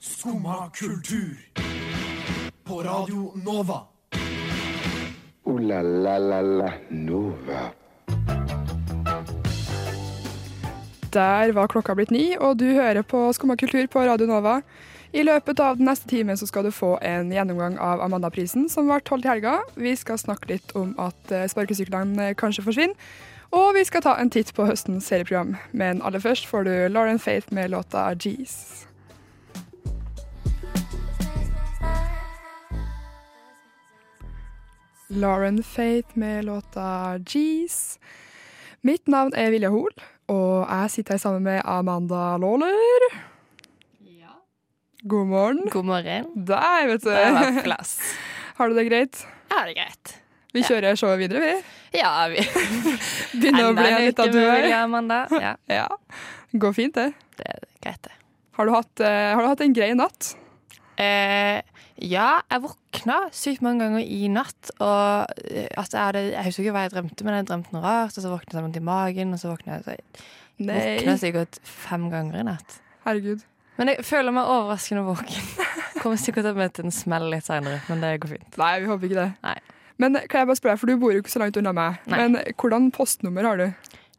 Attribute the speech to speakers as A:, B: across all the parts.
A: Skumma kultur. På Radio Nova.
B: Ooh la la la la Nova.
C: Der var klokka blitt ni, og du hører på Skumma kultur på Radio Nova. I løpet av den neste timen så skal du få en gjennomgang av Amanda-prisen, som ble holdt i helga. Vi skal snakke litt om at eh, sparkesyklene eh, kanskje forsvinner. Og vi skal ta en titt på høstens serieprogram. Men aller først får du Lauren Faith med låta G's. Lauren Faith med låta G's. Mitt navn er Vilja Hoel, og jeg sitter her sammen med Amanda Lawler.
D: Ja.
C: God morgen.
D: God morgen.
C: Der, vet
D: Det var
C: du.
D: på plass.
C: Har du det greit?
D: Ja, det er greit.
C: Vi
D: Ja.
C: kjører showet videre, vi.
D: Ja, vi
C: Begynner å bli en liten duell.
D: Ja, Amanda. Ja,
C: Ja. Går fint, det.
D: det er greit, det.
C: Har du hatt, eh, har du hatt en grei natt?
D: Eh, ja, jeg våkna sykt mange ganger i natt. Og eh, altså, jeg, hadde, jeg husker ikke hva jeg drømte, men jeg drømte noe rart. Og så våknet jeg med vondt i magen, og så våkna jeg, så jeg våkna sikkert fem ganger i natt.
C: Herregud.
D: Men jeg føler meg overraskende våken. Kommer sikkert til å møte en smell litt seinere, men det går fint.
C: Nei, vi håper ikke det.
D: Nei.
C: Men kan jeg bare spørre, deg, for du bor jo ikke så langt unna meg.
D: Nei.
C: Men hvordan postnummer har du?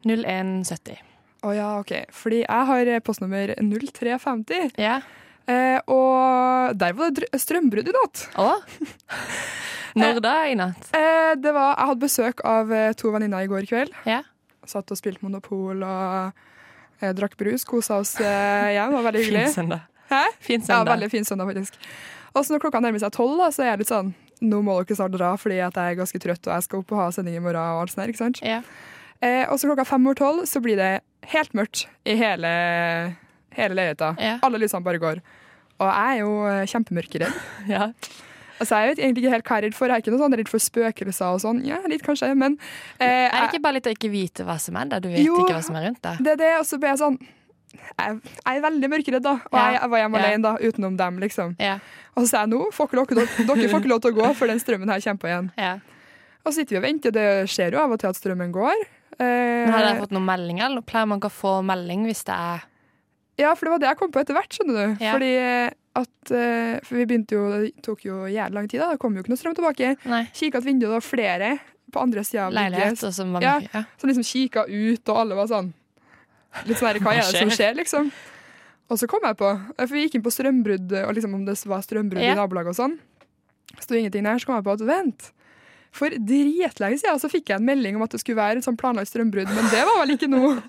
D: 0170.
C: Å ja, OK. Fordi jeg har eh, postnummer 0350.
D: Ja.
C: Eh, og der var det dr- strømbrudd i natt.
D: Og? Når da i natt?
C: Eh, det var, jeg hadde besøk av eh, to venninner i går kveld.
D: Ja.
C: Satt og spilte Monopol og eh, drakk brus. Kosa oss eh, igjen. Det var veldig hyggelig.
D: Fin søndag.
C: Hæ?
D: Fin
C: Ja,
D: søndag.
C: veldig fin søndag, faktisk. Og så når klokka nærmer seg tolv, da, så er jeg litt sånn Nå må dere snart dra, fordi at jeg er ganske trøtt, og jeg skal opp og ha sending i morgen. Og alt sånt der, ikke sant?
D: Ja.
C: Eh, og så klokka fem over tolv så blir det helt mørkt i hele, hele leiligheta.
D: Ja.
C: Alle lysene bare går. Og jeg er jo eh, kjempemørkeredd.
D: Ja.
C: Altså, jeg vet egentlig ikke helt hva jeg er redd for. Jeg er ikke noe sånn redd for spøkelser og sånn. Ja, litt kanskje, men eh,
D: Er det
C: jeg-
D: ikke bare litt å ikke vite hva som er der? Du vet
C: Jo.
D: ikke hva som er rundt deg.
C: det er det, og så ble jeg sånn jeg, jeg er veldig mørkeredd, da. Og
D: Ja.
C: jeg, jeg var hjemme
D: Ja.
C: alene, da, utenom dem, liksom.
D: Ja,
C: Og så sa jeg nå, får ikke dere, dere får ikke lov til å gå før den strømmen her kommer på igjen.
D: ja.
C: Og så sitter vi og venter, og det skjer jo av og til at strømmen går. Eh,
D: Men har dere fått noen meldinger? Eller pleier man ikke å få melding hvis det er
C: Ja, for det var det jeg kom på etter hvert, skjønner du.
D: Ja.
C: Fordi eh, at eh, For vi begynte jo, det tok jo jævlig lang tid, da. Det kom jo ikke noe strøm tilbake.
D: Nei,
C: Kikka ut vinduet, det var flere på andre sida av
D: leilighet?
C: bygget
D: Og så man,
C: Ja.
D: ja. Ja.
C: som liksom kikka ut, og alle var sånn Litt sånn her, hva er det som skjer, liksom? Og så kom jeg på, for vi gikk inn på strømbrudd, og liksom om det var strømbrudd
D: Ja.
C: i nabolaget og sånn. Sto ingenting der, så kom jeg på at vent. For dritlenge siden så fikk jeg en melding om at det skulle være et sånn planlagt strømbrudd, men det var vel ikke noe.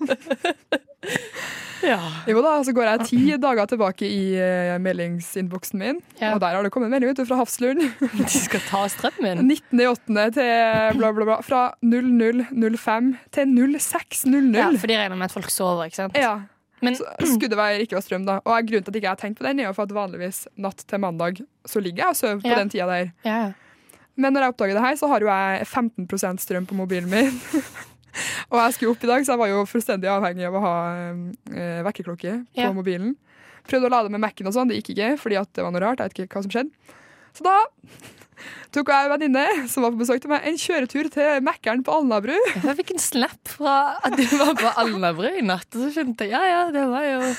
C: Jo da, så går jeg ti dager tilbake i eh, meldingsinnboksen min,
D: Ja.
C: og der har det kommet en melding ut fra Hafslund.
D: De skal ta strømmen?
C: 19.8. til bla, bla, bla. Fra 00.05 til 06.00.
D: Ja, for de regner med at folk sover, ikke sant?
C: Ja.
D: Men-
C: så skulle det være ikke være strøm, da. Og grunnen til at ikke jeg har tenkt på den, er jo for at vanligvis natt til mandag så ligger jeg og sover på
D: Ja.
C: den tida der.
D: Ja.
C: Men når jeg oppdager det her, så har jo jeg 15 strøm på mobilen min. og jeg skulle opp i dag, så jeg var jo fullstendig avhengig av å ha eh, vekkerklokke på
D: Ja.
C: mobilen. Prøvde å lade med Mac-en og sånn, det gikk ikke, fordi at det var noe rart. Jeg vet ikke hva som skjedde. Så da tok jeg en venninne som var på besøk til meg, en kjøretur til Mac-eren på Alnabru.
D: Jeg fikk en snap fra at du var på Alnabru i natt, og så skjønte jeg ja, ja, det var jo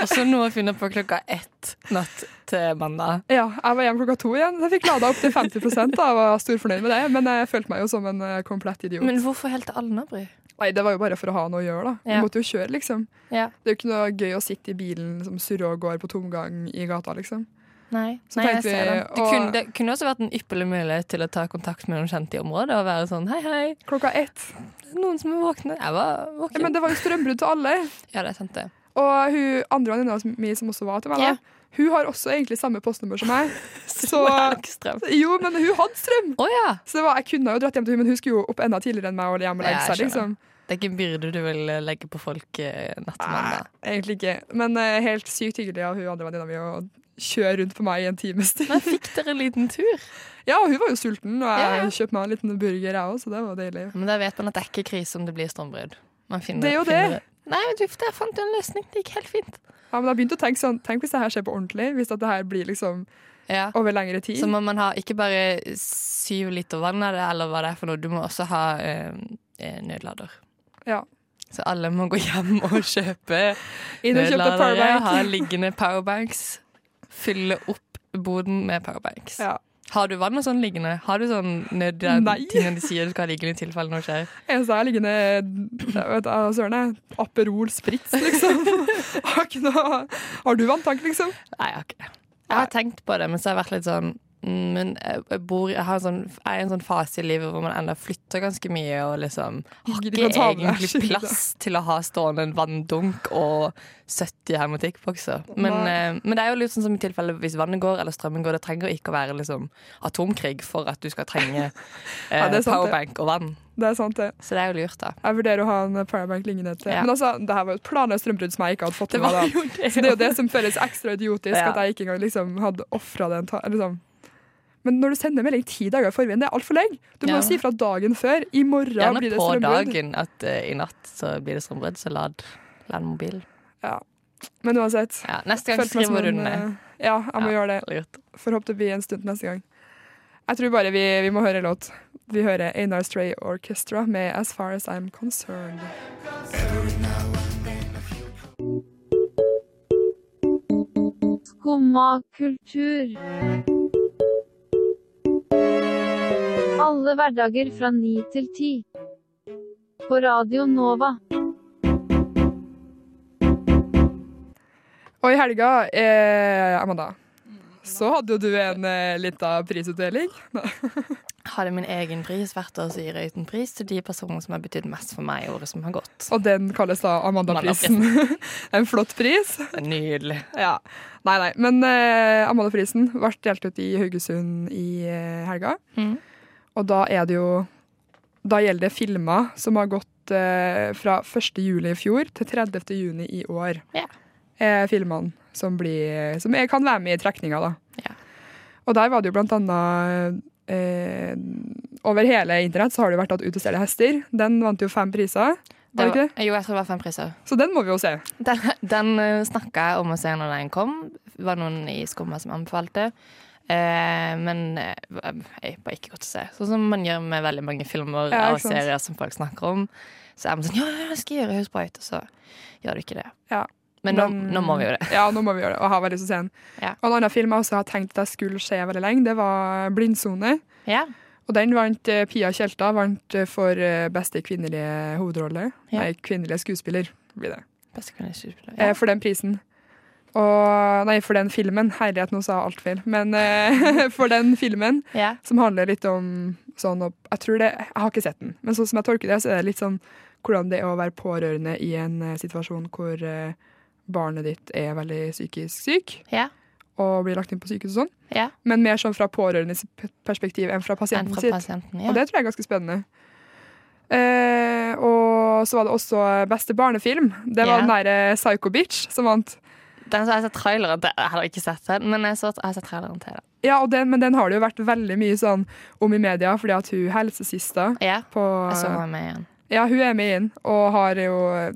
D: Og så noe å finne på klokka ett natt til mandag.
C: Ja, jeg var hjemme klokka to igjen. Jeg fikk lada opp til 50 da. Jeg var stor fornøyd med det, men jeg følte meg jo som en eh, komplett idiot.
D: Men hvorfor helt til Alnabru?
C: Nei, Det var jo bare for å ha noe å gjøre, da.
D: Ja.
C: Vi måtte jo kjøre, liksom.
D: Ja.
C: Det er jo ikke noe gøy å sitte i bilen som surrer og går på tomgang i gata, liksom.
D: Nei,
C: Så
D: nei jeg
C: tenkte vi,
D: ser den. Det
C: og-
D: kunne, det kunne også vært en ypperlig mulighet til å ta kontakt med noen kjente i området og være sånn hei, hei,
C: Klokka ett.
D: det er noen som er våkne. Jeg var
C: Ja,
D: våken. Ja,
C: men det var jo strømbrudd til alle.
D: det er sant, det.
C: Og hun andre venninna mi som også var til meg, da,
D: Ja.
C: hun har også egentlig samme postnummer som meg. Så
D: Elgstrøm.
C: Jo, men hun hadde strøm!
D: Å ja!
C: Så det var, jeg kunne jo dratt hjem til hun, men hun skulle jo opp enda tidligere enn meg og hjem og legge
D: Ja, jeg
C: seg, liksom.
D: Det er ikke en byrde du vil legge på folk eh, natt til
C: Nei,
D: mandag.
C: egentlig ikke. Men eh, helt sykt hyggelig av hun andre venninna mi å kjøre rundt på meg i en times tid.
D: Men fikk dere en liten tur?
C: Ja, og hun var jo sulten, og jeg
D: Ja, ja.
C: kjøpte meg en liten burger, jeg òg, så det var deilig.
D: Men da vet man at det er ikke krise om det blir stormbrudd. Man finner,
C: Det er jo
D: finner-
C: det.
D: Nei, men du, der fant du en løsning. Det gikk helt fint.
C: Ja, men jeg begynte å tenke sånn, Tenk hvis det her skjer på ordentlig, hvis at det her blir liksom
D: Ja.
C: over lengre tid.
D: Så må man ha ikke bare syv liter vann av det, eller hva det er for noe. Du må også ha eh, eh, nødlader.
C: Ja.
D: Så alle må gå hjem og kjøpe
C: Inn og kjøpte
D: nødladere,
C: Powerbank.
D: ha liggende powerbanks. fylle opp boden med Powerbanks.
C: Ja.
D: Har du vann og sånn liggende? Har du sånn nød
C: Nei.
D: tingene de sier du skal ha liggende i tilfelle noe skjer?
C: Eneste jeg har liggende jeg vet, jeg, Søren jeg Aperol Spritz, liksom. Har, ikke noe, har du vanntank, liksom?
D: Nei, jeg har ikke det. Jeg har tenkt på det, men så har jeg vært litt sånn mm, men jeg, jeg, bor, jeg, har en sånn, jeg er i en sånn fase i livet hvor man ennå flytter ganske mye og liksom har
C: Gidder ikke
D: ikke
C: å ta med deg
D: egentlig
C: skikkelig.
D: plass til å ha stående en vanndunk og 70 hermetikkbokser. Men,
C: Nei.
D: eh, men det er jo litt sånn som i tilfelle hvis vannet går eller strømmen går. Det trenger ikke å være liksom, atomkrig for at du skal trenge eh,
C: Ja, det er sant, det.
D: powerbank og vann.
C: Det er sant, det.
D: Så det er jo lurt, da.
C: Jeg vurderer å ha en Powerbank liggende til.
D: Ja.
C: Men altså, det her var jo et planløst strømbrudd som jeg ikke hadde fått
D: Det
C: med
D: var
C: meg. da.
D: jo det.
C: Så det er jo det som føles ekstra idiotisk,
D: Ja.
C: at jeg ikke engang liksom hadde ofra den. Ta eller sånn. Men når du sender melding ti dager i forveien, det er altfor lenge. Du må jo
D: Ja.
C: si fra dagen før. I morgen
D: Gjerne
C: blir det
D: på
C: strømbrudd.
D: dagen at eh, i natt så blir det strømbrudd, så lad, lad mobilen.
C: Men uansett.
D: Ja, neste gang
C: følte meg som
D: skriver du
C: en,
D: den ned.
C: eh, Ja, jeg må
D: Ja,
C: gjøre det.
D: Lurt.
C: Får håpe det blir en stund neste gang. Jeg tror bare vi, vi må høre låt. Vi hører Einar Stray Orchestra med As Far As I'm Concerned.
E: Skumma kultur. Alle hverdager fra ni til ti. På Radio Nova.
C: Og i helga, eh, Amanda, så hadde jo du en eh, lita prisutdeling.
D: Hadde min egen pris hvert år, så gir jeg ut en pris til de personene som har betydd mest for meg i året som har gått.
C: Og den kalles da Amanda-prisen. en flott pris.
D: Det er Nydelig.
C: Ja. Nei, nei. Men eh, Amanda-prisen ble delt ut i Haugesund i eh, helga.
D: Mhm.
C: Og da er det jo Da gjelder det filmer som har gått eh, fra 1. juli i fjor til 30. juni i år.
D: Ja.
C: Eh, filmene som, blir, som er- kan være med i trekninga, da.
D: Ja.
C: Og der var det jo blant annet eh, Over hele internett så har det jo vært at Ut og stjeler hester. Den vant jo fem priser. Var det ikke det?
D: Jo, jeg tror det var fem priser.
C: Så den eh, må vi jo se.
D: Den, den snakka jeg om å se når den kom. Det var noen i skumma som anbefalte. Eh, men eh, jeg var ikke godt å se. Sånn som man gjør med veldig mange filmer
C: Ja,
D: og
C: ikke sant.
D: serier som folk snakker om. Så er man sånn Ja, ja, jeg skal gjøre Husbright, og så gjør du ikke det.
C: Ja.
D: Men nå, nå må vi jo det.
C: Ja, nå må vi gjøre det. Og har veldig lyst til å se den.
D: Ja.
C: Og en annen film jeg også har tenkt at jeg skulle se veldig lenge, det var 'Blindsone'.
D: Ja.
C: Og den vant eh, Pia Tjelta vant eh, for eh, beste kvinnelige hovedrolle.
D: Ja.
C: Nei, kvinnelige skuespiller blir det.
D: Beste kvinnelige skuespiller.
C: Eh, For den prisen. Og Nei, for den filmen. Herlighet, nå sa jeg alt feil. Men eh, for den filmen
D: Ja.
C: som handler litt om sånn og Jeg tror det Jeg har ikke sett den, men sånn som jeg tolker det, så er det litt sånn hvordan det er å være pårørende i en eh, situasjon hvor eh, barnet ditt er veldig psykisk syk
D: Ja.
C: og blir lagt inn på sykehus og sånn,
D: ja.
C: men mer sånn fra pårørendes p- perspektiv enn fra
D: En
C: pasienten
D: fra
C: sitt.
D: pasienten. Ja.
C: Og det tror jeg er ganske spennende. Eh, og så var det også eh, beste barnefilm. Det var
D: Ja.
C: den derre eh, Psycho Bitch som vant.
D: Den så jeg har sett traileren til. Jeg har ikke sett den, men jeg, så, jeg har sett traileren til den.
C: Ja, og den, men den har det jo vært veldig mye sånn om i media, fordi at hun helsesista
D: Ja.
C: på
D: Jeg så henne med igjen.
C: Ja, hun er med inn, og har jo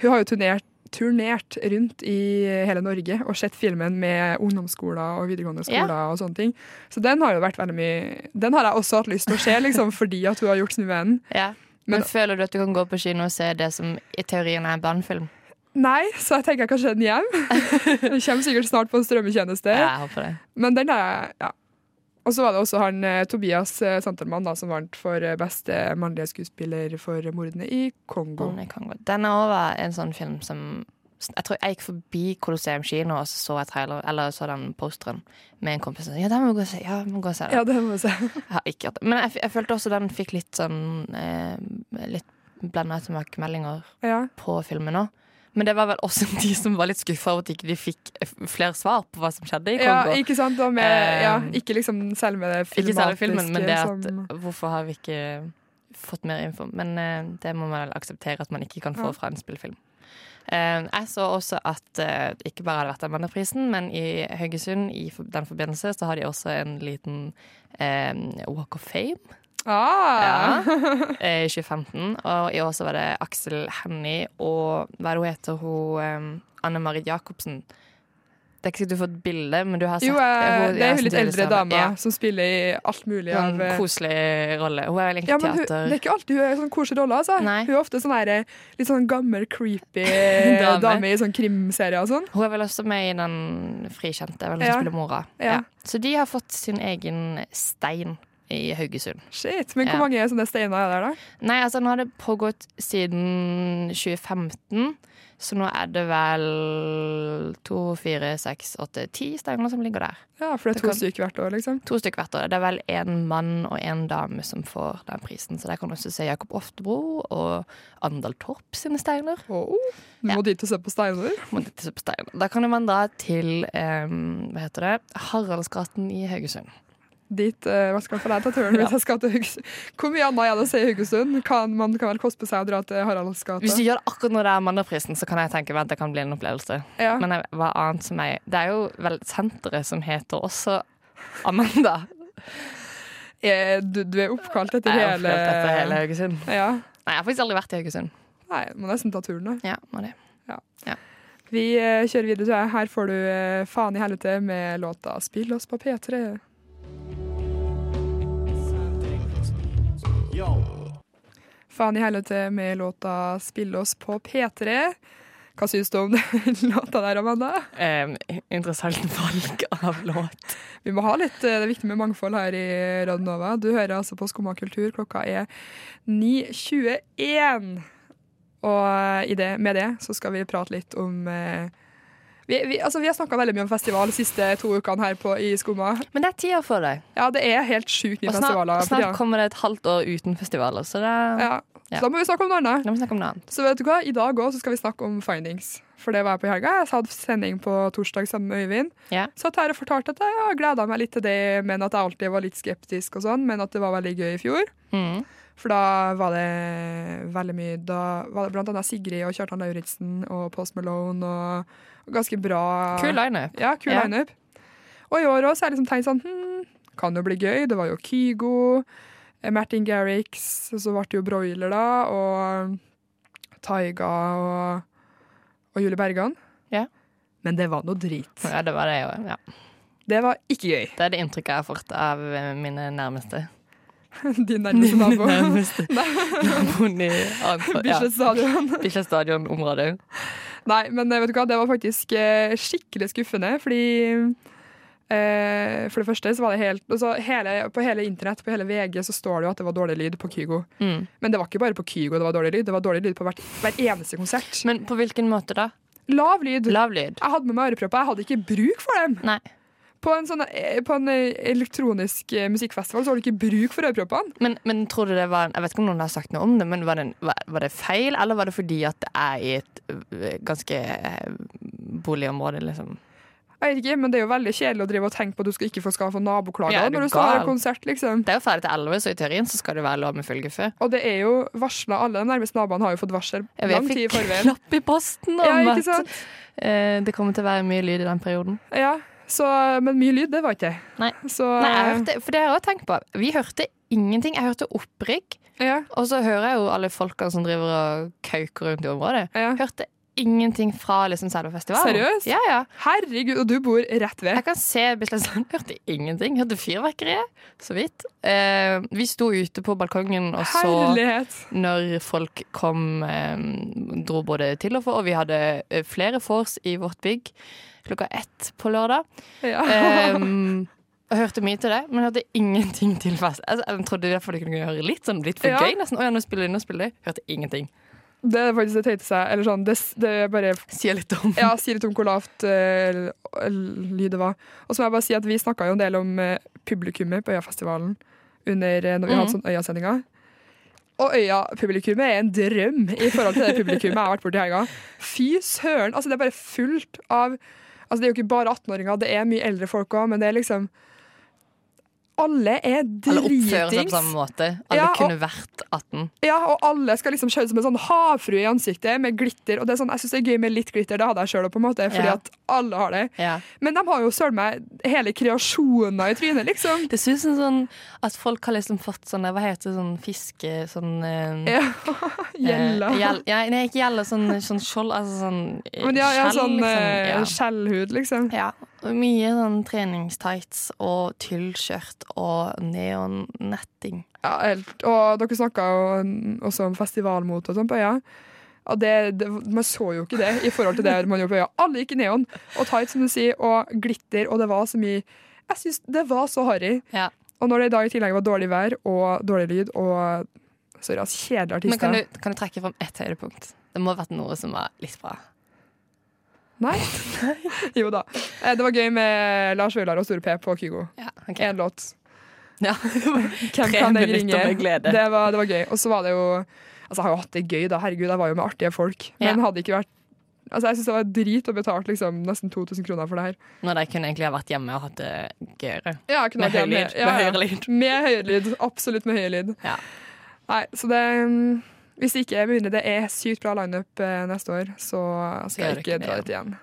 C: Hun har jo turnert, turnert rundt i hele Norge og sett filmen med ungdomsskoler og videregående
D: Ja.
C: skoler og sånne ting. Så den har jo vært veldig mye Den har jeg også hatt lyst til å se, liksom, fordi at hun har gjort Snuvenen.
D: Ja.
C: Men-
D: Men føler du at du kan gå på kino og se det som i teorien er en barnefilm?
C: Nei, så jeg tenker jeg kan se den hjem. Den kommer sikkert snart på en strømmetjeneste.
D: Ja, jeg håper det.
C: Men den er Ja. Og så var det også han eh, Tobias eh, Santelmann da, som vant for eh, beste mannlige skuespiller for mordene i Kongo.
D: Barn i Kongo. Den er over en sånn film som jeg tror jeg gikk forbi Colosseum kino og så så jeg trailer, eller så den posteren med en kompis. og sa, Ja, den må vi gå og se. Ja, vi må gå og se den.
C: Ja, det må vi se.
D: Jeg har ikke hatt det. Men jeg, f- jeg følte også den fikk litt sånn eh, Litt blanda tilbakemeldinger
C: Ja.
D: på filmen òg. Men det var vel også de som var litt skuffa over at ikke de ikke fikk eh, flere svar på hva som skjedde i
C: Ja,
D: Kongo.
C: ikke sant? Og med,
D: Eh,
C: ja, ikke liksom selve det
D: ikke
C: filmatiske
D: selve filmen, men det at
C: som-
D: hvorfor har vi ikke eh, fått mer info? Men eh, det må man vel akseptere at man ikke kan
C: Ja.
D: få fra en spillfilm. Eh, jeg så også at eh, ikke bare har det vært Amandaprisen, men i Haugesund i for- den forbindelse så har de også en liten eh, Walk of Fame.
C: ah,
D: eh, i 2015. Og i år så var det Aksel Hennie og hva er det hun heter, hun eh, Anne Marit Jacobsen. Det er ikke sikkert du får et bilde, men du har sagt
C: Jo, jeg,
D: Hun-
C: det
D: ja,
C: er hun litt
D: Cecilie
C: eldre
D: Strand.
C: dama
D: sånn, Ja,
C: som spiller i alt mulig av eh,
D: en koselig rolle. Hun er vel egentlig
C: ja, men hun,
D: teater...
C: Det er ikke alltid hun er i sånn koselig rolle. Altså.
D: Nei.
C: Hun er ofte sånn her, litt sånn gammel, creepy
D: Dame.
C: dame. i sånn krimserier og sånn.
D: Hun er vel også med i den frikjente, vel, hun
C: Ja.
D: spiller mora.
C: Ja.
D: Så de har fått sin egen stein i Haugesund.
C: Shit, Men hvor
D: Ja.
C: mange sånne steiner er der, da?
D: Nei, altså nå har det pågått siden 2015, så nå er det vel to, fire, seks, åtte, ti steiner som ligger der.
C: Ja, For det er
D: Det
C: to
D: kan-
C: stykker hvert år, liksom.
D: To stykker hvert år. Det er vel en mann og en dame som får den prisen, så der kan du også se Jakob Oftebro og Andal Torp sine steiner.
C: Åh, Oh. du
D: Ja.
C: må dit og se på steiner.
D: Må dit til steiner. Da kan man dra til eh, hva heter det? Haraldsgaten i Haugesund.
C: Dit eh, hva skal jeg få deg til turen hvis jeg skal til Haugesund? Hvor mye annet er det å se i Haugesund? Kan man kan vel koste på seg å dra til
D: Hvis
C: Haraldsgata?
D: du gjør det akkurat når det er mandagsprisen, så kan jeg tenke meg at det kan bli en opplevelse.
C: Ja.
D: Men jeg- hva annet som er Det er jo vel senteret som heter også Amanda.
C: Eh, du, du er oppkalt etter
D: Jeg har
C: hele,
D: opplevd dette hele Haugesund.
C: Ja.
D: Nei, jeg har faktisk aldri vært i Haugesund.
C: Nei, må nesten ta turen, da.
D: Ja, må det.
C: Vi eh, kjører videre, tror jeg. Her får du eh, Faen i helvete med låta 'Spill oss på P3'. Faen i helvete med låta 'Spill oss på P3'. Hva syns du om den låta der, Amanda?
D: Em, interessant valg av låt.
C: Vi må ha litt, eh, Det er viktig med mangfold her i Radio Nova. Du hører altså på Skumma kultur. Klokka er 9.21. Og eh, i det, med det så skal vi prate litt om eh, vi, vi, altså, vi har snakka veldig mye om festival de siste to ukene her på, i Skumma.
D: Men det er tida for deg.
C: Ja, det er helt sjukt mye
D: Og
C: festivaler.
D: snart,
C: for
D: snart
C: tida.
D: kommer det et halvt år uten festivaler, så det
C: ja.
D: Ja.
C: Så da må vi snakke om noe annet.
D: Da må vi snakke om noe annet.
C: Så vet du hva, i dag òg skal vi snakke om findings. For det var jeg på i helga. Jeg hadde sending på torsdag sammen med Øyvind.
D: Ja.
C: Satt her og fortalte at jeg gleda meg litt til det, men at jeg alltid var litt skeptisk og sånn. Men at det var veldig gøy i fjor.
D: Mm.
C: For da var det veldig mye Da var det blant annet Sigrid og Kjartan Lauritzen og Post Malone og, og ganske bra
D: Kul lineup.
C: Ja, kul
D: Ja.
C: lineup. Og i år òg har jeg liksom tenkt sånn hm, Kan jo bli gøy. Det var jo Kygo, eh, Martin Garrix, og så ble det jo Broiler, da, og Taiga og, og Julie Bergan.
D: Ja.
C: Men det var noe drit.
D: Ja, det var det jo. Ja.
C: Det var ikke gøy.
D: Det er det inntrykket jeg har fått av eh, mine nærmeste.
C: Din nærmeste nabo.
D: nærmeste naboen i Arendal. Ja.
C: Bislett Stadion.
D: Bislett stadion-området.
C: Nei, men eh, vet du hva, det var faktisk eh, skikkelig skuffende, fordi eh, For det første så var det helt altså, hele, På hele internett, på hele VG, så står det jo at det var dårlig lyd på Kygo.
D: Mm.
C: Men det var ikke bare på Kygo det var dårlig lyd, det var dårlig lyd på hvert, hvert eneste konsert.
D: Men på hvilken måte da?
C: Lav lyd.
D: Lav lyd?
C: Jeg hadde med meg ørepropper, jeg hadde ikke bruk for dem.
D: Nei.
C: På en, sånn, eh, på en eh, elektronisk eh, musikkfestival så har du ikke bruk for øreproppene.
D: Men, men tror du det var en, Jeg vet ikke om noen har sagt noe om det, men var det, en, var, var det feil, eller var det fordi at det er i et øh, ganske øh, boligområde, liksom?
C: Jeg vet ikke, men det er jo veldig kjedelig å drive og tenke på at du skal ikke få skal få naboklager
D: Ja, er du
C: når du står her
D: gal?
C: og konsert, liksom.
D: Det er jo ferdig til elleve, så i teorien så skal det være lov med følgefe.
C: Og det er jo varsla, alle de nærmeste naboene har jo fått varsel
D: Jeg,
C: lang
D: vet-
C: tid i
D: jeg fikk
C: forveien.
D: klapp i posten
C: Ja,
D: om
C: ikke
D: at
C: sant?
D: eh, det kommer til å være mye lyd i den perioden.
C: Ja, så, men mye lyd, det var ikke det.
D: Nei.
C: Så,
D: Nei, jeg hørte, for det har jeg også tenkt på. Vi hørte ingenting. Jeg hørte opprykk.
C: ja,
D: Og så hører jeg jo alle folkene som driver og kauker rundt i området.
C: ja.
D: Hørte ingenting fra liksom selve festivalen.
C: Seriøst?
D: Ja, ja.
C: Herregud, og du bor rett ved.
D: Jeg kan se Bislett Sand. Hørte ingenting. Hørte fyrverkeriet, så vidt. Eh, vi sto ute på balkongen og så
C: Herlighet.
D: når folk kom eh, Dro både til og for, og vi hadde eh, flere vors i vårt bygg klokka ett på lørdag.
C: Ja.
D: Ehm, jeg hørte mye til det, men jeg hørte ingenting til fest. Altså, jeg trodde i hvert fall jeg kunne høre litt, sånn litt for
C: Ja.
D: gøy nesten. Å ja, nå spiller de, nå spiller de. Hørte ingenting.
C: Det er faktisk det teite seg. Eller sånn, det, det er bare
D: Sier litt om
C: Ja, si litt om hvor lavt eh, l- lyd det var. Og så må jeg bare si at vi snakka jo en del om eh, publikummet på Øyafestivalen under, eh, når vi
D: Mhm.
C: hadde sånn Øya-sendinga. Og Øya-publikummet er en drøm i forhold til det publikummet jeg har vært borti i helga. Fy søren! Altså, det er bare fullt av Altså, det er jo ikke bare 18-åringer, det er mye eldre folk òg, men det er liksom alle er
D: Alle oppfører seg på
C: dritings.
D: samme måte. Alle
C: Ja, og-
D: kunne vært 18.
C: Ja, og alle skal liksom kjøre som en sånn havfrue i ansiktet med glitter. Og det er sånn, jeg syns det er gøy med litt glitter, det hadde jeg sjøl òg, på en måte. Fordi
D: Ja.
C: at alle har det.
D: Ja.
C: Men de har jo søren meg hele kreasjoner i trynet, liksom.
D: Det synes jeg sånn at folk har liksom fått sånn Hva heter det, sånn fiske... Sånn eh,
C: Ja, Gjella.
D: eh, gjell- ja, nei, ikke gjella, sånn, sånn skjold Altså sånn eh,
C: Men de har, ja,
D: skjell,
C: sånn eh,
D: liksom.
C: skjellhud, liksom.
D: Ja. ja. Mye sånn treningstights og tyllskjørt og neonnetting.
C: Ja, helt. Og dere snakka jo også om festivalmote og sånn på øya. Og det, det, man så jo ikke det i forhold til det man gjorde på øya. Alle gikk i neon og tights, som du sier, og glitter, og det var så mye Jeg syns det var så harry.
D: Ja.
C: Og når det i dag i tillegg var dårlig vær og dårlig lyd og sorry, ass, kjedelige
D: Men kan
C: artister
D: du, kan du trekke fram ett høydepunkt? Det må ha vært noe som var litt bra.
C: Nei. jo da. Eh, Det var gøy med Lars Vaular og Store P på Kygo.
D: Ja, ok.
C: Én låt.
D: Ja.
C: Hvem
D: Tre
C: kan jeg ringe?
D: minutter med glede.
C: Det var, det var gøy. Og så var det jo Altså, jeg har jo hatt det gøy, da. Herregud, jeg var jo med artige folk. Men
D: Ja.
C: hadde ikke vært Altså, jeg syns det var drit å betale liksom, nesten 2000 kroner for det her.
D: Når de kunne egentlig ha vært hjemme og hatt det gøyere.
C: Ja, jeg kunne
D: Med
C: vært hjemme.
D: høy lyd,
C: Ja,
D: med
C: ja.
D: høyere lyd.
C: Med høyere lyd. Absolutt med høyere lyd.
D: Ja.
C: Nei, så det mm, Hvis ikke jeg begynner Det er sykt bra lineup eh, neste år, så skal jeg
D: Gjør ikke
C: ikke
D: det,
C: dra
D: ja.
C: ut igjen.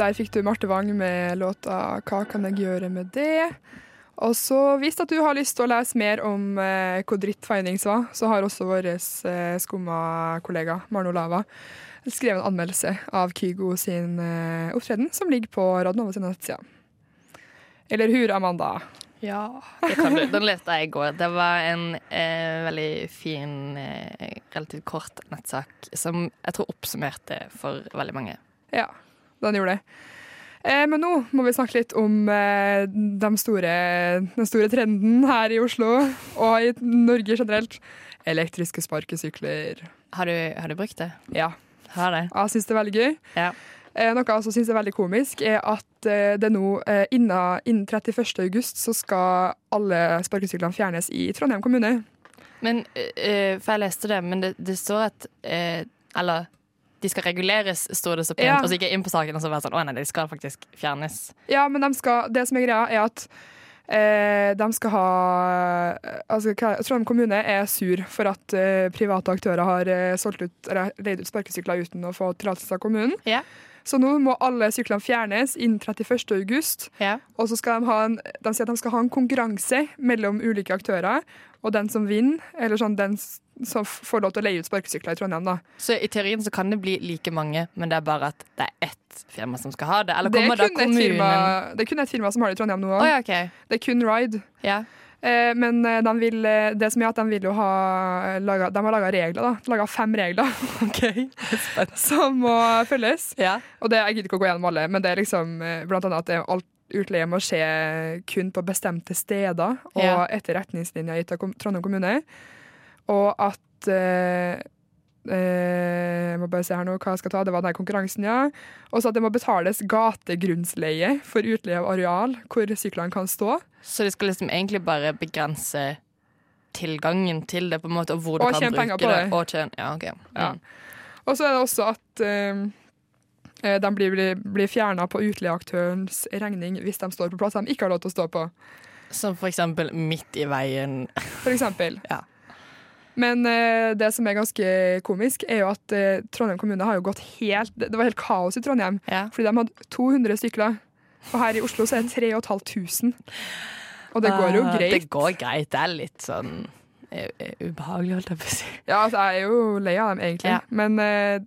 C: Der fikk du Marte Wang med låta 'Hva kan jeg gjøre med det'. Og så hvis at du har lyst til å lese mer om eh, hvor dritt Findings var, så har også vår eh, skumma kollega Maren Olava skrevet en anmeldelse av Kygo sin eh, opptreden, som ligger på Radnova sine nettsider. Eller hur, Amanda?
D: Ja, det kan du. Den leste jeg i går. Det var en eh, veldig fin, eh, relativt kort nettsak som jeg tror oppsummerte for veldig mange.
C: Ja, den gjorde det. Eh, men nå må vi snakke litt om eh, de store, den store trenden her i Oslo og i Norge generelt. Elektriske sparkesykler.
D: Har du, har du brukt det?
C: Ja,
D: Har det?
C: jeg syns det er veldig gøy.
D: Ja.
C: Eh, noe jeg også syns er veldig komisk, er at eh, det nå eh, innen, innen 31. august så skal alle sparkesyklene fjernes i Trondheim kommune.
D: Men, eh, for jeg leste det, men det, det står at eh, Eller de skal reguleres, står det så pent.
C: Ja.
D: Og så gikk jeg inn på saken og så var jeg sånn Å nei, de skal faktisk fjernes.
C: Ja, men de skal, det som er greia, er at eh, de skal ha altså, hva- Trondheim kommune er sur for at eh, private aktører har eh, solgt ut, eller leid ut sparkesykler uten å få tillatelse av kommunen.
D: Ja.
C: Så nå må alle syklene fjernes innen 31. august.
D: Ja.
C: Og så skal de ha en, de sier at de skal ha en konkurranse mellom ulike aktører, og den som vinner, eller sånn den s- som f- får lov til å leie ut sparkesykler i Trondheim, da.
D: Så i teorien så kan det bli like mange, men det er bare at det er ett firma som skal ha det. Eller
C: Det er,
D: kommer da
C: kun et
D: kommunen
C: firma, det er kun et firma som har det i Trondheim nå
D: Å
C: òg.
D: ja, OK.
C: Det er kun Ride.
D: Ja.
C: Eh, Men eh, de vil, eh, det som er at de vil jo ha eh, laga, De har laga regler, da. Laga fem regler som må følges.
D: ja.
C: Og det, jeg gidder ikke å gå gjennom alle, men det er liksom eh, blant annet at det, alt utleie må skje kun på bestemte steder og
D: Ja.
C: etter retningslinjer gitt av kom- Trondheim kommune. Og at eh, eh, Jeg må bare se her nå hva jeg skal ta. Det var denne konkurransen, ja. Og så at det må betales gategrunnsleie for utleie av areal hvor syklene kan stå.
D: Så de skal liksom egentlig bare begrense tilgangen til det, på en måte, og hvor du
C: Og
D: kan
C: tjene
D: bruke
C: penger på
D: det.
C: det.
D: Og tjene Ja, OK. Mm.
C: Ja. Og så er det også at eh, de blir, blir, blir fjerna på utleieaktørens regning hvis de står på plass de ikke har lov til å stå på,
D: Som for eksempel midt i veien.
C: f.eks.
D: Ja.
C: Men eh, det som er ganske komisk, er jo at eh, Trondheim kommune har jo gått helt Det var helt kaos i Trondheim,
D: Ja.
C: fordi de hadde 200 stykker. Og her i Oslo så er det 3500. Og det går jo
D: Ah,
C: greit.
D: Det går greit. Det er litt sånn eh, eh, ubehagelig, holdt jeg på å si.
C: Ja, altså, jeg er jo lei av dem, egentlig.
D: Ja.
C: Men eh,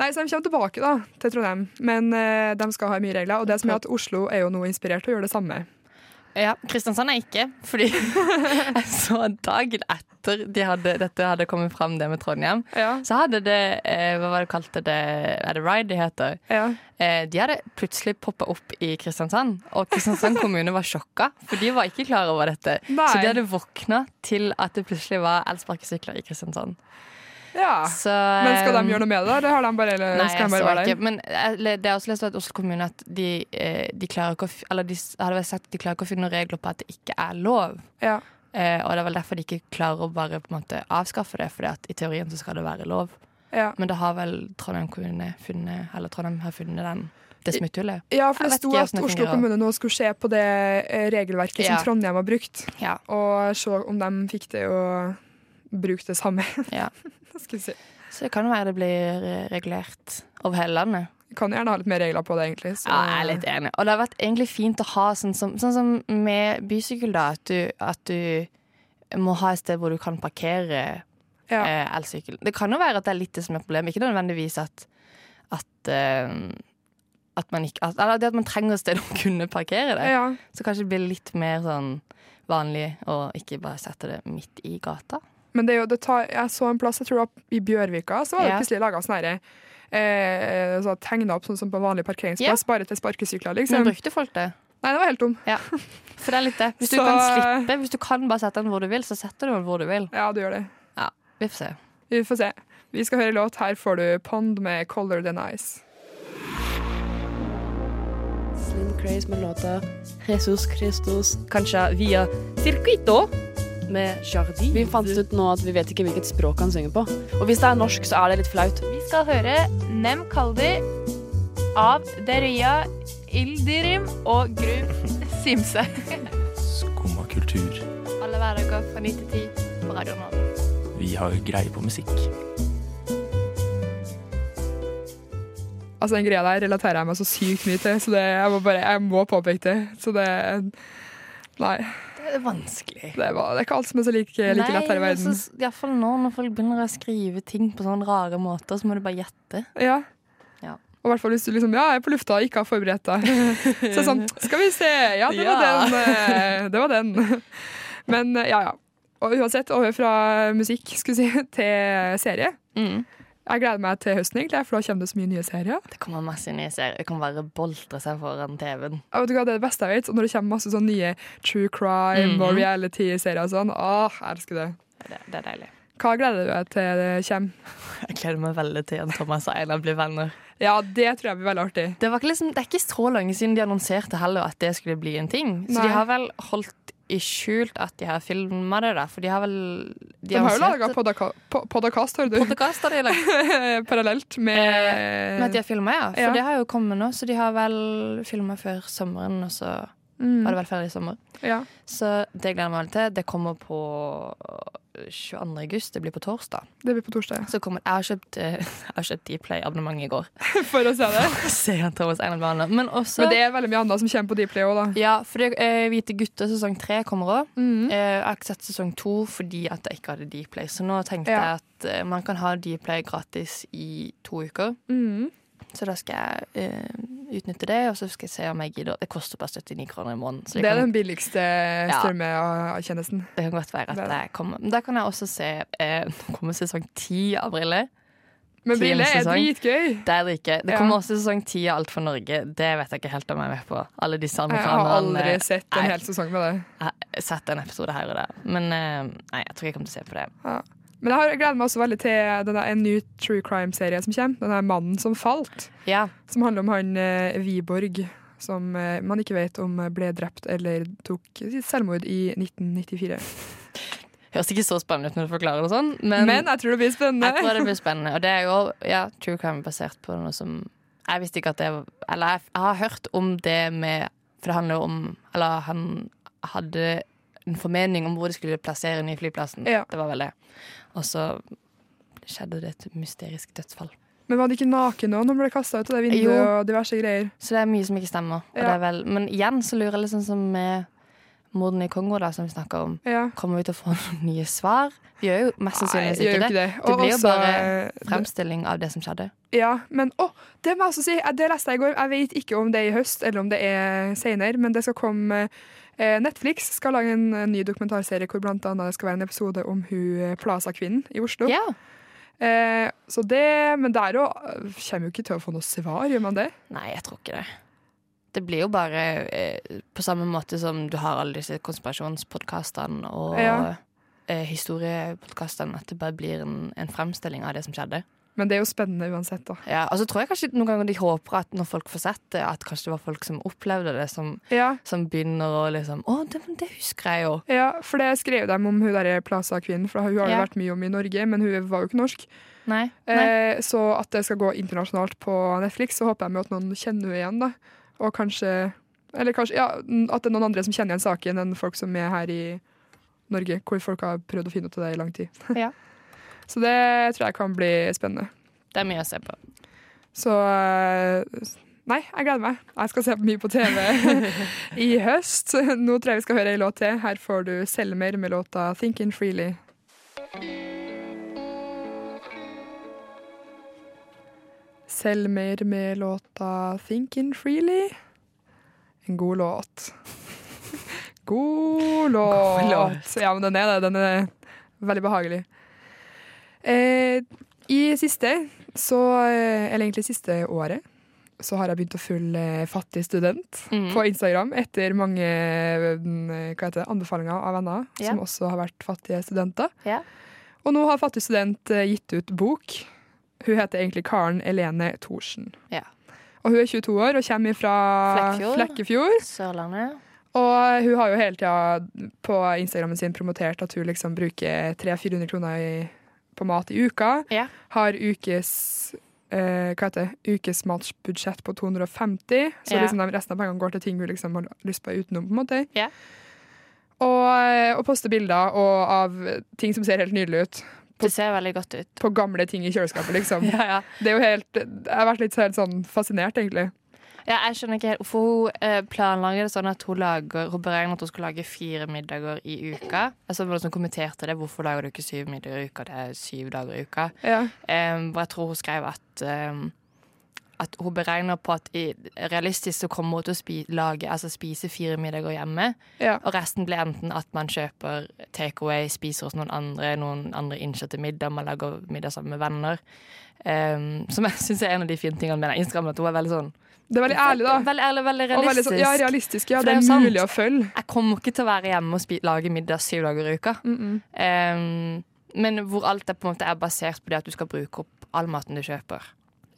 C: Nei, så de kommer tilbake da, til Trondheim, men eh, de skal ha mye regler. Og det som er at Oslo er jo nå inspirert til å gjøre det samme.
D: Ja, Kristiansand er ikke, fordi jeg så dagen etter de hadde, dette hadde kommet fram, det med Trondheim,
C: Ja.
D: så hadde det eh, Hva var det kalte det? Er det Ride de heter?
C: Ja.
D: Eh, de hadde plutselig poppa opp i Kristiansand, og Kristiansand kommune var sjokka, for de var ikke klar over dette.
C: Nei.
D: Så de hadde våkna til at det plutselig var elsparkesykler i Kristiansand.
C: ja.
D: Så,
C: Ah.
D: eh,
C: Men skal de gjøre noe med det, eller har de bare, eller,
D: Nei,
C: skal
D: jeg
C: de
D: så
C: bare være
D: ikke.
C: der?
D: Men jeg le- det er også lest at Oslo kommune at de, eh, de klarer ikke å f- Eller de s- hadde vel sagt at de klarer ikke å finne noen regler på at det ikke er lov.
C: Ja.
D: Eh, og det er vel derfor de ikke klarer å bare på en måte avskaffe det, Fordi at i teorien så skal det være lov.
C: Ja.
D: Men det har vel Trondheim kommune funnet, eller Trondheim har funnet den, det smutthullet.
C: ja, for det
D: Jeg vet
C: sto at
D: ikke hvordan det
C: Oslo
D: fungerer.
C: kommune nå skulle se på det eh, regelverket
D: Ja.
C: som Trondheim har brukt,
D: Ja.
C: og se om de fikk det å bruke det samme.
D: Ja.
C: Skal vi se.
D: Så det kan jo være det blir eh, regulert over hele landet.
C: Vi kan gjerne ha litt mer regler på det, egentlig. så-
D: Ja, jeg er litt enig. Og det har vært egentlig fint å ha sånn som, sånn som med bysykkel, da. At du, at du må ha et sted hvor du kan parkere
C: Ja.
D: eh, elsykkel. Det kan jo være at det er litt det som er problemet. Ikke nødvendigvis at at, eh, at man ikke at, Eller det at man trenger et sted å kunne parkere det.
C: ja.
D: Så kanskje det blir litt mer sånn vanlig å ikke bare sette det midt i gata.
C: Men det er jo, det tar, jeg så en plass, jeg tror det var i Bjørvika, så var det
D: Ja.
C: plutselig laga sånn herre eh, så Tegna opp sånn som på vanlig parkeringsplass, bare til sparkesykler,
D: Men
C: liksom.
D: brukte folk det?
C: Nei, det var helt dum.
D: Ja. For det er litt det. Hvis du
C: Så-
D: kan slippe, hvis du kan bare sette den hvor du vil, så setter du den hvor du vil.
C: Ja, du gjør det.
D: Ja, Vi får se.
C: Vi får se. Vi skal høre låt. Her får du Pond med 'Color Than Ice'.
F: Slim Craze med låta Jesus Christus, kanskje via Circuito med Jardi. Vi fant ut nå at vi vet ikke hvilket språk han synger på. Og hvis det er norsk, så er det litt flaut.
G: Vi skal høre Nem Kaldi av Deria Ildirim og Grum Simse.
H: Skumma kultur.
G: Alle hverdager fra 9 til 10 på Radio Nova.
H: Vi har greie på musikk.
C: Altså, den greia der relaterer jeg meg så sykt mye til, så det, jeg må bare jeg må påpeke det. Så det Nei.
D: Det er vanskelig.
C: Det, var, det er ikke alt som er så like, like lett her i verden.
D: Iallfall nå når folk begynner å skrive ting på sånne rare måter, så må du bare gjette.
C: Ja.
D: Ja.
C: Og i hvert fall hvis du liksom Ja, jeg er på lufta og ikke har forberedt deg. Så det er sånn Skal vi se! Ja, det
D: Ja.
C: var den. eh, Det var den. Men eh, ja, ja. Og uansett, over fra musikk skal vi si, til serie. Jeg gleder meg til høsten, egentlig, for da kommer det så mye nye serier.
D: Det kommer masse nye serier. Det kan bare boltre seg foran TV-en.
C: Jeg vet ikke hva Det er det beste jeg vet. Og når det kommer masse sånne nye true crime og
D: Mhm.
C: reality-serier og sånn, åh, jeg elsker det.
D: Det, det er deilig.
C: Hva gleder du deg til det kommer?
D: Jeg gleder meg veldig til at Thomas og Einar blir venner.
C: Ja, det tror jeg blir veldig artig.
D: Det, var ikke liksom, det er ikke så lenge siden de annonserte heller at det skulle bli en ting. Så
C: Nei.
D: de har vel holdt i skjult at de har filma det, da. For de har vel
C: De har jo
D: annonserte-
C: laga podkast, hører du,
D: podcast har de lagd.
C: parallelt Eh, med
D: Men at de har filma, ja. For
C: Ja.
D: det har jo kommet nå. Så de har vel filma før sommeren, og så
C: Mm,
D: var det vel ferdig i sommer.
C: ja.
D: Så det gleder jeg meg veldig til. Det kommer på 22. august, det blir på torsdag.
C: Det blir på torsdag.
D: Så kommer, jeg har kjøpt, eh, jeg har kjøpt Dplay-abonnement i går.
C: For å se det.
D: Se han Thomas Einar Bane. Men også
C: Men det er veldig mye annet som kommer på Dplay òg, da.
D: Ja, for det, eh, Hvite gutter sesong tre kommer òg.
C: Mm.
D: jeg har ikke sett sesong to fordi at jeg ikke hadde Dplay. Så nå tenkte
C: Ja.
D: jeg at eh, man kan ha Dplay gratis i to uker.
C: Mm.
D: Så da skal jeg eh, utnytte det, og så skal jeg se om jeg gidder. Det koster bare 79 kroner i måneden. Så
C: Det
D: det,
C: er
D: kan,
C: den billigste strømmetjenesten.
D: det kan godt være
C: Det er
D: at
C: det.
D: jeg kommer. Men da kan jeg også se eh, Nå kommer sesong ti av Brille.
C: Men briller er
D: Tiendesesong.
C: dritgøy!
D: Det er det ikke. Det
C: Ja.
D: kommer også sesong ti av Alt for Norge. Det vet jeg ikke helt om jeg er med på. Alle disse
C: Jeg har
D: amerikanerne.
C: aldri sett en
D: nei.
C: hel sesong med det.
D: Jeg har sett en episode her og der. Men eh, nei, jeg tror ikke jeg kommer til å se på det.
C: Men jeg har- jeg gleder meg også veldig til denne, en ny true crime-serie som kommer. Den her 'Mannen som falt',
D: Ja,
C: som handler om han eh, Wiborg. Som eh, man ikke vet om ble drept eller tok sitt selvmord i 1994.
D: Høres ikke så spennende ut når du forklarer det sånn,
C: Men, eh,
D: men,
C: jeg tror det blir spennende.
D: jeg tror det blir spennende. Og det er jo ja, true crime basert på noe som Jeg visste ikke at det Eller jeg, jeg har hørt om det med For det handler jo om Eller han hadde en formening om hvor de skulle plassere den nye flyplassen.
C: Ja.
D: Det var vel det. Og så skjedde det et mysterisk dødsfall.
C: Men var han ikke naken nå når han ble kasta ut av det vinduet
D: Jo.
C: og diverse greier?
D: Så det er mye som ikke stemmer. Og
C: Ja.
D: det er vel, men igjen så lurer jeg litt sånn som med mordene i Kongo, da, som vi snakker om.
C: Ja.
D: Kommer vi til å få noen nye svar? Vi gjør jo mest
C: Nei,
D: sannsynligvis
C: gjør jo
D: ikke det.
C: det.
D: Det
C: Og
D: blir jo
C: også,
D: bare
C: eh,
D: Fremstilling av det som skjedde.
C: Ja, men å, det må jeg også si. eh, Det leste jeg i går. Jeg vet ikke om det er i høst eller om det er senere, men det skal komme eh, Netflix skal lage en eh, ny dokumentarserie hvor blant annet det skal være en episode om hun eh, Plaza-kvinnen i Oslo.
D: Ja.
C: Eh, så det, Men der òg kommer jo ikke til å få noe svar, gjør man det?
D: Nei, jeg tror ikke det. Det blir jo bare eh, på samme måte som du har alle disse konspirasjonspodkastene og
C: Ja.
D: eh, historiepodkastene, at det bare blir en, en fremstilling av det som skjedde.
C: Men det er jo spennende uansett, da.
D: Ja, og så tror jeg kanskje noen ganger de håper at når folk får sett det, at kanskje det var folk som opplevde det, som,
C: Ja,
D: som begynner å liksom Å, det, men det husker jeg jo.
C: ja for det skrev de om hun derre Plaza-kvinnen, for hun har jo
D: Ja.
C: vært mye om i Norge, men hun var jo ikke norsk.
D: Nei.
C: Eh, så at det skal gå internasjonalt på Netflix, så håper jeg med at noen kjenner henne igjen, da. Og kanskje Eller kanskje ja, n- at det er noen andre som kjenner igjen saken enn folk som er her i Norge, hvor folk har prøvd å finne ut av det i lang tid.
D: Ja.
C: Så det tror jeg kan bli spennende.
D: Det er mye å se på.
C: Så eh, Nei, jeg gleder meg. Jeg skal se mye på TV i høst. Nå tror jeg vi skal høre ei låt til. Her får du Selmer med låta 'Thinking Freely'. Selmer med låta 'Thinking Freely'. En god låt. God låt. Ja, men den er det. Den er veldig behagelig. Eh, I siste så, eh, eller egentlig siste året, så har jeg begynt å følge eh, Fattig student på Instagram etter mange eh, hva heter det, anbefalinger av venner
D: Ja.
C: som også har vært fattige studenter.
D: Ja.
C: Og nå har Fattig student eh, gitt ut bok. Hun heter egentlig Karen Elene Thorsen.
D: Ja.
C: Og hun er 22 år og kommer fra
D: Flekkefjord.
C: Flekkefjord.
D: Sørlandet.
C: Og hun har jo hele tida på Instagrammen sin promotert at hun liksom bruker 300-400 kroner i, på mat i uka.
D: Ja.
C: Har ukes eh, hva heter det? ukesmatsbudsjett på 250, så
D: Ja.
C: liksom de resten av pengene går til ting hun liksom har lyst på utenom. på en måte.
D: Ja.
C: Og, eh, og poster bilder og, av ting som ser helt nydelig ut.
D: Det ser veldig godt ut.
C: På gamle ting i kjøleskapet, liksom.
D: Ja, ja.
C: Det er jo helt, Jeg har vært litt helt sånn fascinert, egentlig.
D: Ja, jeg skjønner ikke helt hvorfor hun eh, planlegger det sånn at hun lager Hun beregner at hun skal lage fire middager i uka. Jeg så noen som kommenterte det. Hvorfor lager du ikke syv middager i uka? Det er syv dager i uka.
C: Ja.
D: Um, og jeg tror hun skrev at um, at hun beregner på at i, realistisk så kommer hun til å spi, lage, altså spise fire middager hjemme.
C: Ja.
D: Og resten blir enten at man kjøper takeaway, spiser hos noen andre, noen andre innkjøpte middag, man lager middag sammen med venner. Um, som jeg syns er en av de fine tingene med den Instagram, at hun er veldig sånn
C: Det er veldig ærlig, da.
D: Veldig ærlig, veldig
C: Og veldig
D: realistisk.
C: sånn, ja, realistisk. Ja,
D: For
C: det
D: det er
C: er
D: jo
C: mulig
D: sant.
C: å følge.
D: Jeg kommer ikke til å være hjemme og spi lage middag syv dager i uka. Em, men hvor alt er på en måte er basert på det at du skal bruke opp all maten du kjøper.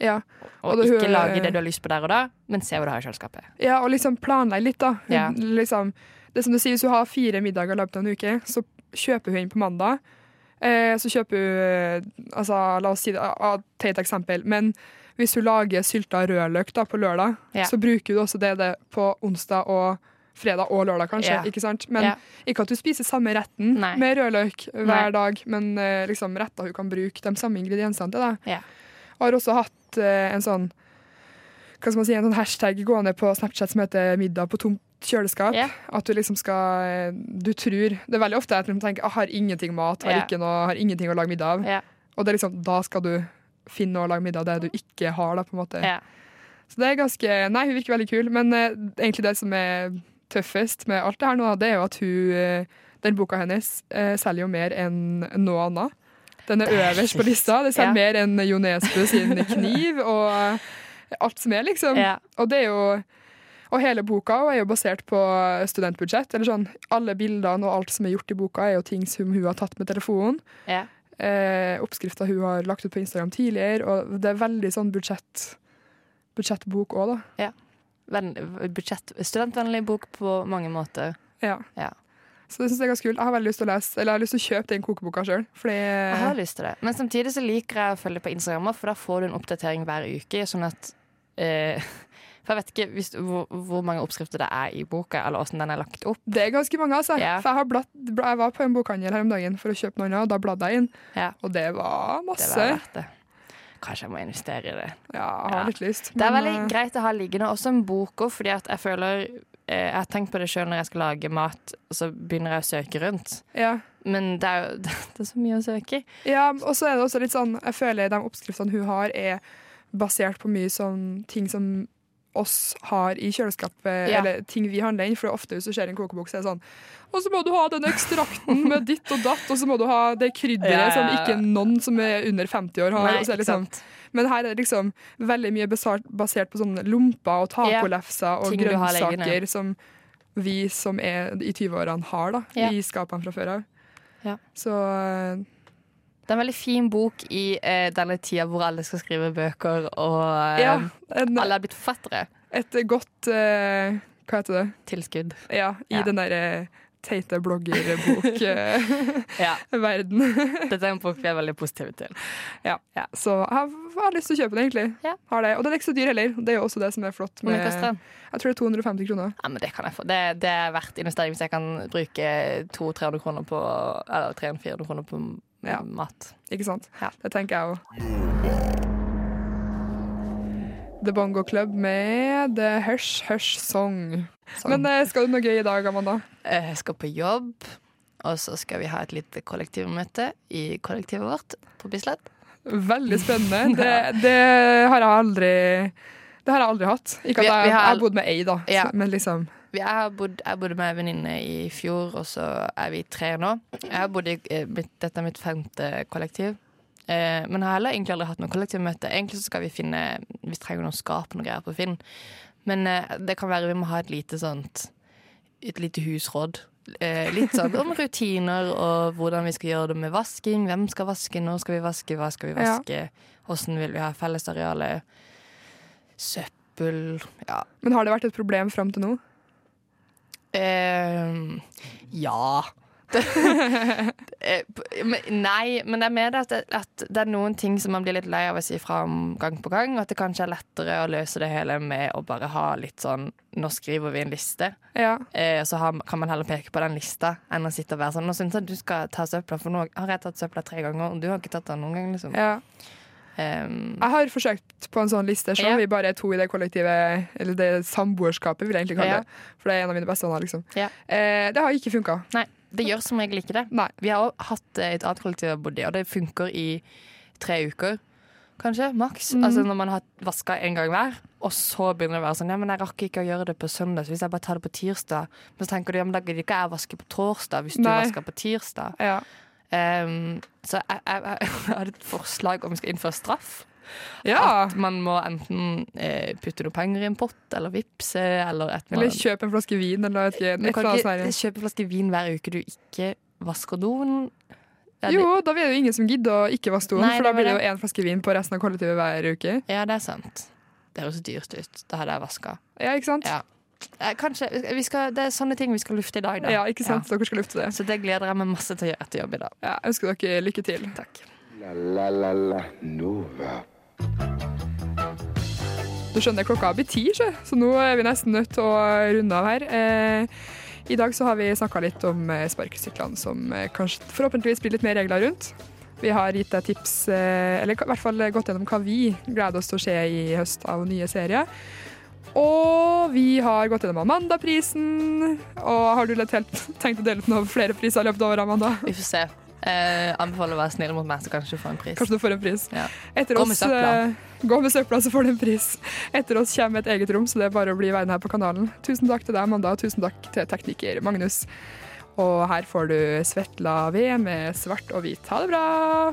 C: Ja.
D: Og,
C: Og det
D: ikke
C: hører-
D: lage det du har lyst på der og da, men se hva du har i kjøleskapet.
C: Ja, og liksom planlegge litt, da. Hun,
D: Ja.
C: Liksom, det er som du sier, Hvis hun har fire middager i løpet av en uke, så kjøper hun inn på mandag. Eh, så kjøper hun eh, altså, La oss si det, ah, ah, ta et eksempel. Men hvis hun lager sylta rødløk da, på lørdag,
D: Ja.
C: så bruker hun også det, det på onsdag og fredag og lørdag, kanskje.
D: Ja.
C: ikke sant? Men
D: Ja.
C: ikke at hun spiser samme retten
D: Nei.
C: med rødløk hver
D: Nei.
C: dag, men eh, liksom retter hun kan bruke de samme ingrediensene til. da.
D: Ja.
C: Og har også hatt eh, en sånn hva skal man si, en sånn hashtag gående på Snapchat som heter 'middag på tomt kjøleskap'.
D: Ja.
C: At du liksom skal Du tror Det er veldig ofte at de tenker «Jeg 'har ingenting mat, har,
D: Ja.
C: ikke noe, har ingenting å lage middag av'.
D: Ja.
C: Og det er liksom, da skal du finne noe å lage middag av det du ikke har, da, på en måte.
D: Ja.
C: Så det er ganske Nei, hun virker veldig kul, men eh, egentlig det som er tøffest med alt det her nå, det er jo at hun eh, Den boka hennes eh, selger jo mer enn noe annet. Den er øverst på lista. Det selger
D: Ja.
C: mer enn Jo Nesbø sin kniv og eh, alt som er, liksom.
D: Ja.
C: Og det er jo og hele boka er jo basert på studentbudsjett. eller sånn, Alle bildene og alt som er gjort i boka, er jo ting som hun har tatt med telefonen.
D: Ja.
C: Eh, Oppskrifter hun har lagt ut på Instagram tidligere. og Det er veldig sånn budsjett, budsjettbok òg, da.
D: Venn- budsjett, studentvennlig bok på mange måter.
C: Ja.
D: Ja.
C: Så det synes jeg er ganske kult. Jeg har veldig lyst til å lese, eller jeg har lyst til å kjøpe den kokeboka sjøl.
D: Jeg har
C: Fordi
D: lyst til det. Men samtidig så liker jeg å følge på Instagram, for da får du en oppdatering hver uke. Sånn at eh, For jeg vet ikke hvis, hvor, hvor mange oppskrifter det er i boka, eller åssen den er lagt opp.
C: det er ganske mange, altså.
D: Ja.
C: For jeg, har blatt, bla- jeg var på en bokhandel her om dagen for å kjøpe noe annet, og da bladde jeg inn.
D: Ja.
C: Og det var
D: Det
C: masse.
D: var verdt det. Kanskje jeg må investere i det.
C: Ja, jeg har
D: Ja.
C: litt lyst.
D: Det er
C: men,
D: veldig
C: eh,
D: greit å ha liggende også en bok òg, fordi at jeg føler eh, Jeg har tenkt på det sjøl når jeg skal lage mat, og så begynner jeg å søke rundt.
C: Ja.
D: Men det er jo det er så mye å søke i.
C: Ja, og så er det også litt sånn Jeg føler de oppskriftene hun har er basert på mye sånn ting som oss har i kjøleskapet,
D: Ja.
C: eller ting vi handler inn. For ofte hvis du ser en kokebok, så er det sånn Og så må du ha den ekstrakten med ditt og datt, og så må du ha det krydderet
D: Ja, ja, ja.
C: som ikke noen som er under 50 år har.
D: Nei,
C: og så er det
D: ikke
C: liksom,
D: sant?
C: men her er det liksom veldig mye basert, basert på sånne lomper og
D: Ja.
C: tacolefser og
D: Ting du har liggende.
C: grønnsaker som vi som er i 20-årene har da,
D: Ja.
C: i skapene fra før av.
D: Ja.
C: Så eh,
D: Det er en veldig fin bok i eh, denne tida hvor alle skal skrive bøker, og eh,
C: Ja, en,
D: alle har blitt forfattere.
C: et godt eh, Hva heter det?
D: Tilskudd.
C: Ja, i
D: Ja.
C: den derre teite bloggerbok-verden.
D: Ja. Dette er en bok vi er veldig positive til.
C: Så jeg har, har lyst til å kjøpe den, egentlig.
D: Ja.
C: Har det. Og den er ikke så dyr heller. Det er jo også det som er flott.
D: Hvor mye
C: med-
D: koster den?
C: jeg tror det er 250 kroner.
D: Ja, men det kan jeg få. Det, det er verdt investering hvis jeg kan bruke 200-300 kroner på Eller 300-400 kroner på m-
C: Ja.
D: mat.
C: Ikke sant?
D: Ja.
C: Det tenker jeg òg. The Bongo Club med The Hush Hush Song.
D: Sånn.
C: Men eh, skal du noe gøy i dag, Amanda?
D: Eh, Jeg skal på jobb, og så skal vi ha et lite kollektivmøte i kollektivet vårt på Bislett.
C: Veldig spennende. Det, det har jeg aldri Det har jeg aldri hatt. Ikke at
D: Vi-
C: jeg,
D: vi har-
C: jeg har bodd med ei, da, så,
D: Ja.
C: men liksom
D: Vi- Jeg, har bodd, jeg bodde med en venninne i fjor, og så er vi tre nå. Jeg har bodd i eh, mitt, Dette er mitt femte kollektiv. Eh, men jeg har heller egentlig aldri hatt noe kollektivmøte. Egentlig så skal vi finne Vi trenger noen skap og noe greier på Finn. Men eh, det kan være vi må ha et lite sånt Et lite husråd. Eh, litt sånn om rutiner og hvordan vi skal gjøre det med vasking. Hvem skal vaske? Når skal vi vaske? Hva skal vi
C: Ja.
D: vaske? Åssen vil vi ha fellesarealet? Søppel Ja.
C: Men har det vært et problem fram til nå?
D: Ehm, ja. Eh, p- men- Nei, men jeg mener at det, at det er noen ting som man blir litt lei av å si fra om gang på gang, og at det kanskje er lettere å løse det hele med å bare ha litt sånn Nå skriver vi en liste,
C: Ja.
D: eh, så har, kan man heller peke på den lista enn å sitte og være sånn Nå syns jeg du skal ta søpla, for nå har jeg tatt søpla tre ganger, og du har ikke tatt den noen gang, liksom.
C: ja.
D: Ehm,
C: Jeg har forsøkt på en sånn liste, selv om vi bare er to i det kollektivet, eller det samboerskapet, vil jeg egentlig kalle
D: Ja.
C: det. For det er en av mine beste venner, liksom.
D: Ja.
C: Eh, det har ikke funka.
D: Nei, det gjør som regel ikke det.
C: Nei.
D: Vi har også hatt eh, et annet kollektiv jeg har bodd i, og det funker i tre uker. Kanskje, maks.
C: Mhm.
D: Altså Når man har vaska en gang hver, og så begynner det å være sånn Ja, men jeg rakk ikke å gjøre det på søndag, så hvis jeg bare tar det på tirsdag Men så tenker du ja, men da gidder ikke jeg å vaske på torsdag hvis du
C: Nei.
D: vasker på tirsdag.
C: Ja.
D: Ehm, så jeg, jeg, jeg, jeg hadde et forslag om vi skal innføre straff.
C: ja.
D: At man må enten eh, putte noen penger i en pott, eller vippse, eller et
C: Eller kjøp en flaske vin, eller et, et
D: du
C: eller
D: kan
C: annet sånt.
D: ikke
C: sånn her.
D: kjøpe en flaske vin hver uke du ikke vasker doen. Ja, det-
C: Jo, da blir det jo ingen som gidder å ikke vaske doen,
D: Nei,
C: for da
D: det var
C: blir det jo én flaske vin på resten av kollektivet hver uke.
D: Ja, det er sant. Det høres dyrt ut. Da hadde jeg vaska.
C: Ja, ikke sant?
D: Ja. Eh, Kanskje, vi skal, Det er sånne ting vi skal lufte i dag, da.
C: Ja, ikke sant? Dere skal lufte det.
D: Ja. Så det gleder jeg meg masse til å gjøre etter jobb i dag.
C: Ja, jeg ønsker dere lykke til.
D: Takk.
B: La la la la Nova.
C: Du skjønner, klokka blir ti, sjø, så nå er vi nesten nødt til å runde av her. Eh, I dag så har vi snakka litt om eh, sparkesyklene, som eh, kanskje forhåpentligvis blir litt mer regler rundt. Vi har gitt deg tips, eh, eller i hvert fall gått gjennom hva vi gleder oss til å se i høst av nye serier. Og vi har gått gjennom Amanda-prisen. Og har du litt helt tenkt å dele ut noen flere priser i løpet av året, Amanda?
D: Vi får se. Eh, anbefaler å være snill mot meg, så kanskje du får en pris.
C: Kanskje du får en pris.
D: Ja.
C: Etter
D: Gå med
C: oss,
D: søpla.
C: eh, Gå med søpla, så får du en pris. Etter oss kommer et eget rom, så det er bare å bli værende her på kanalen. Tusen takk til deg, Amanda, og tusen takk til tekniker Magnus. Og her får du Svetla V med svart og hvit. Ha det bra!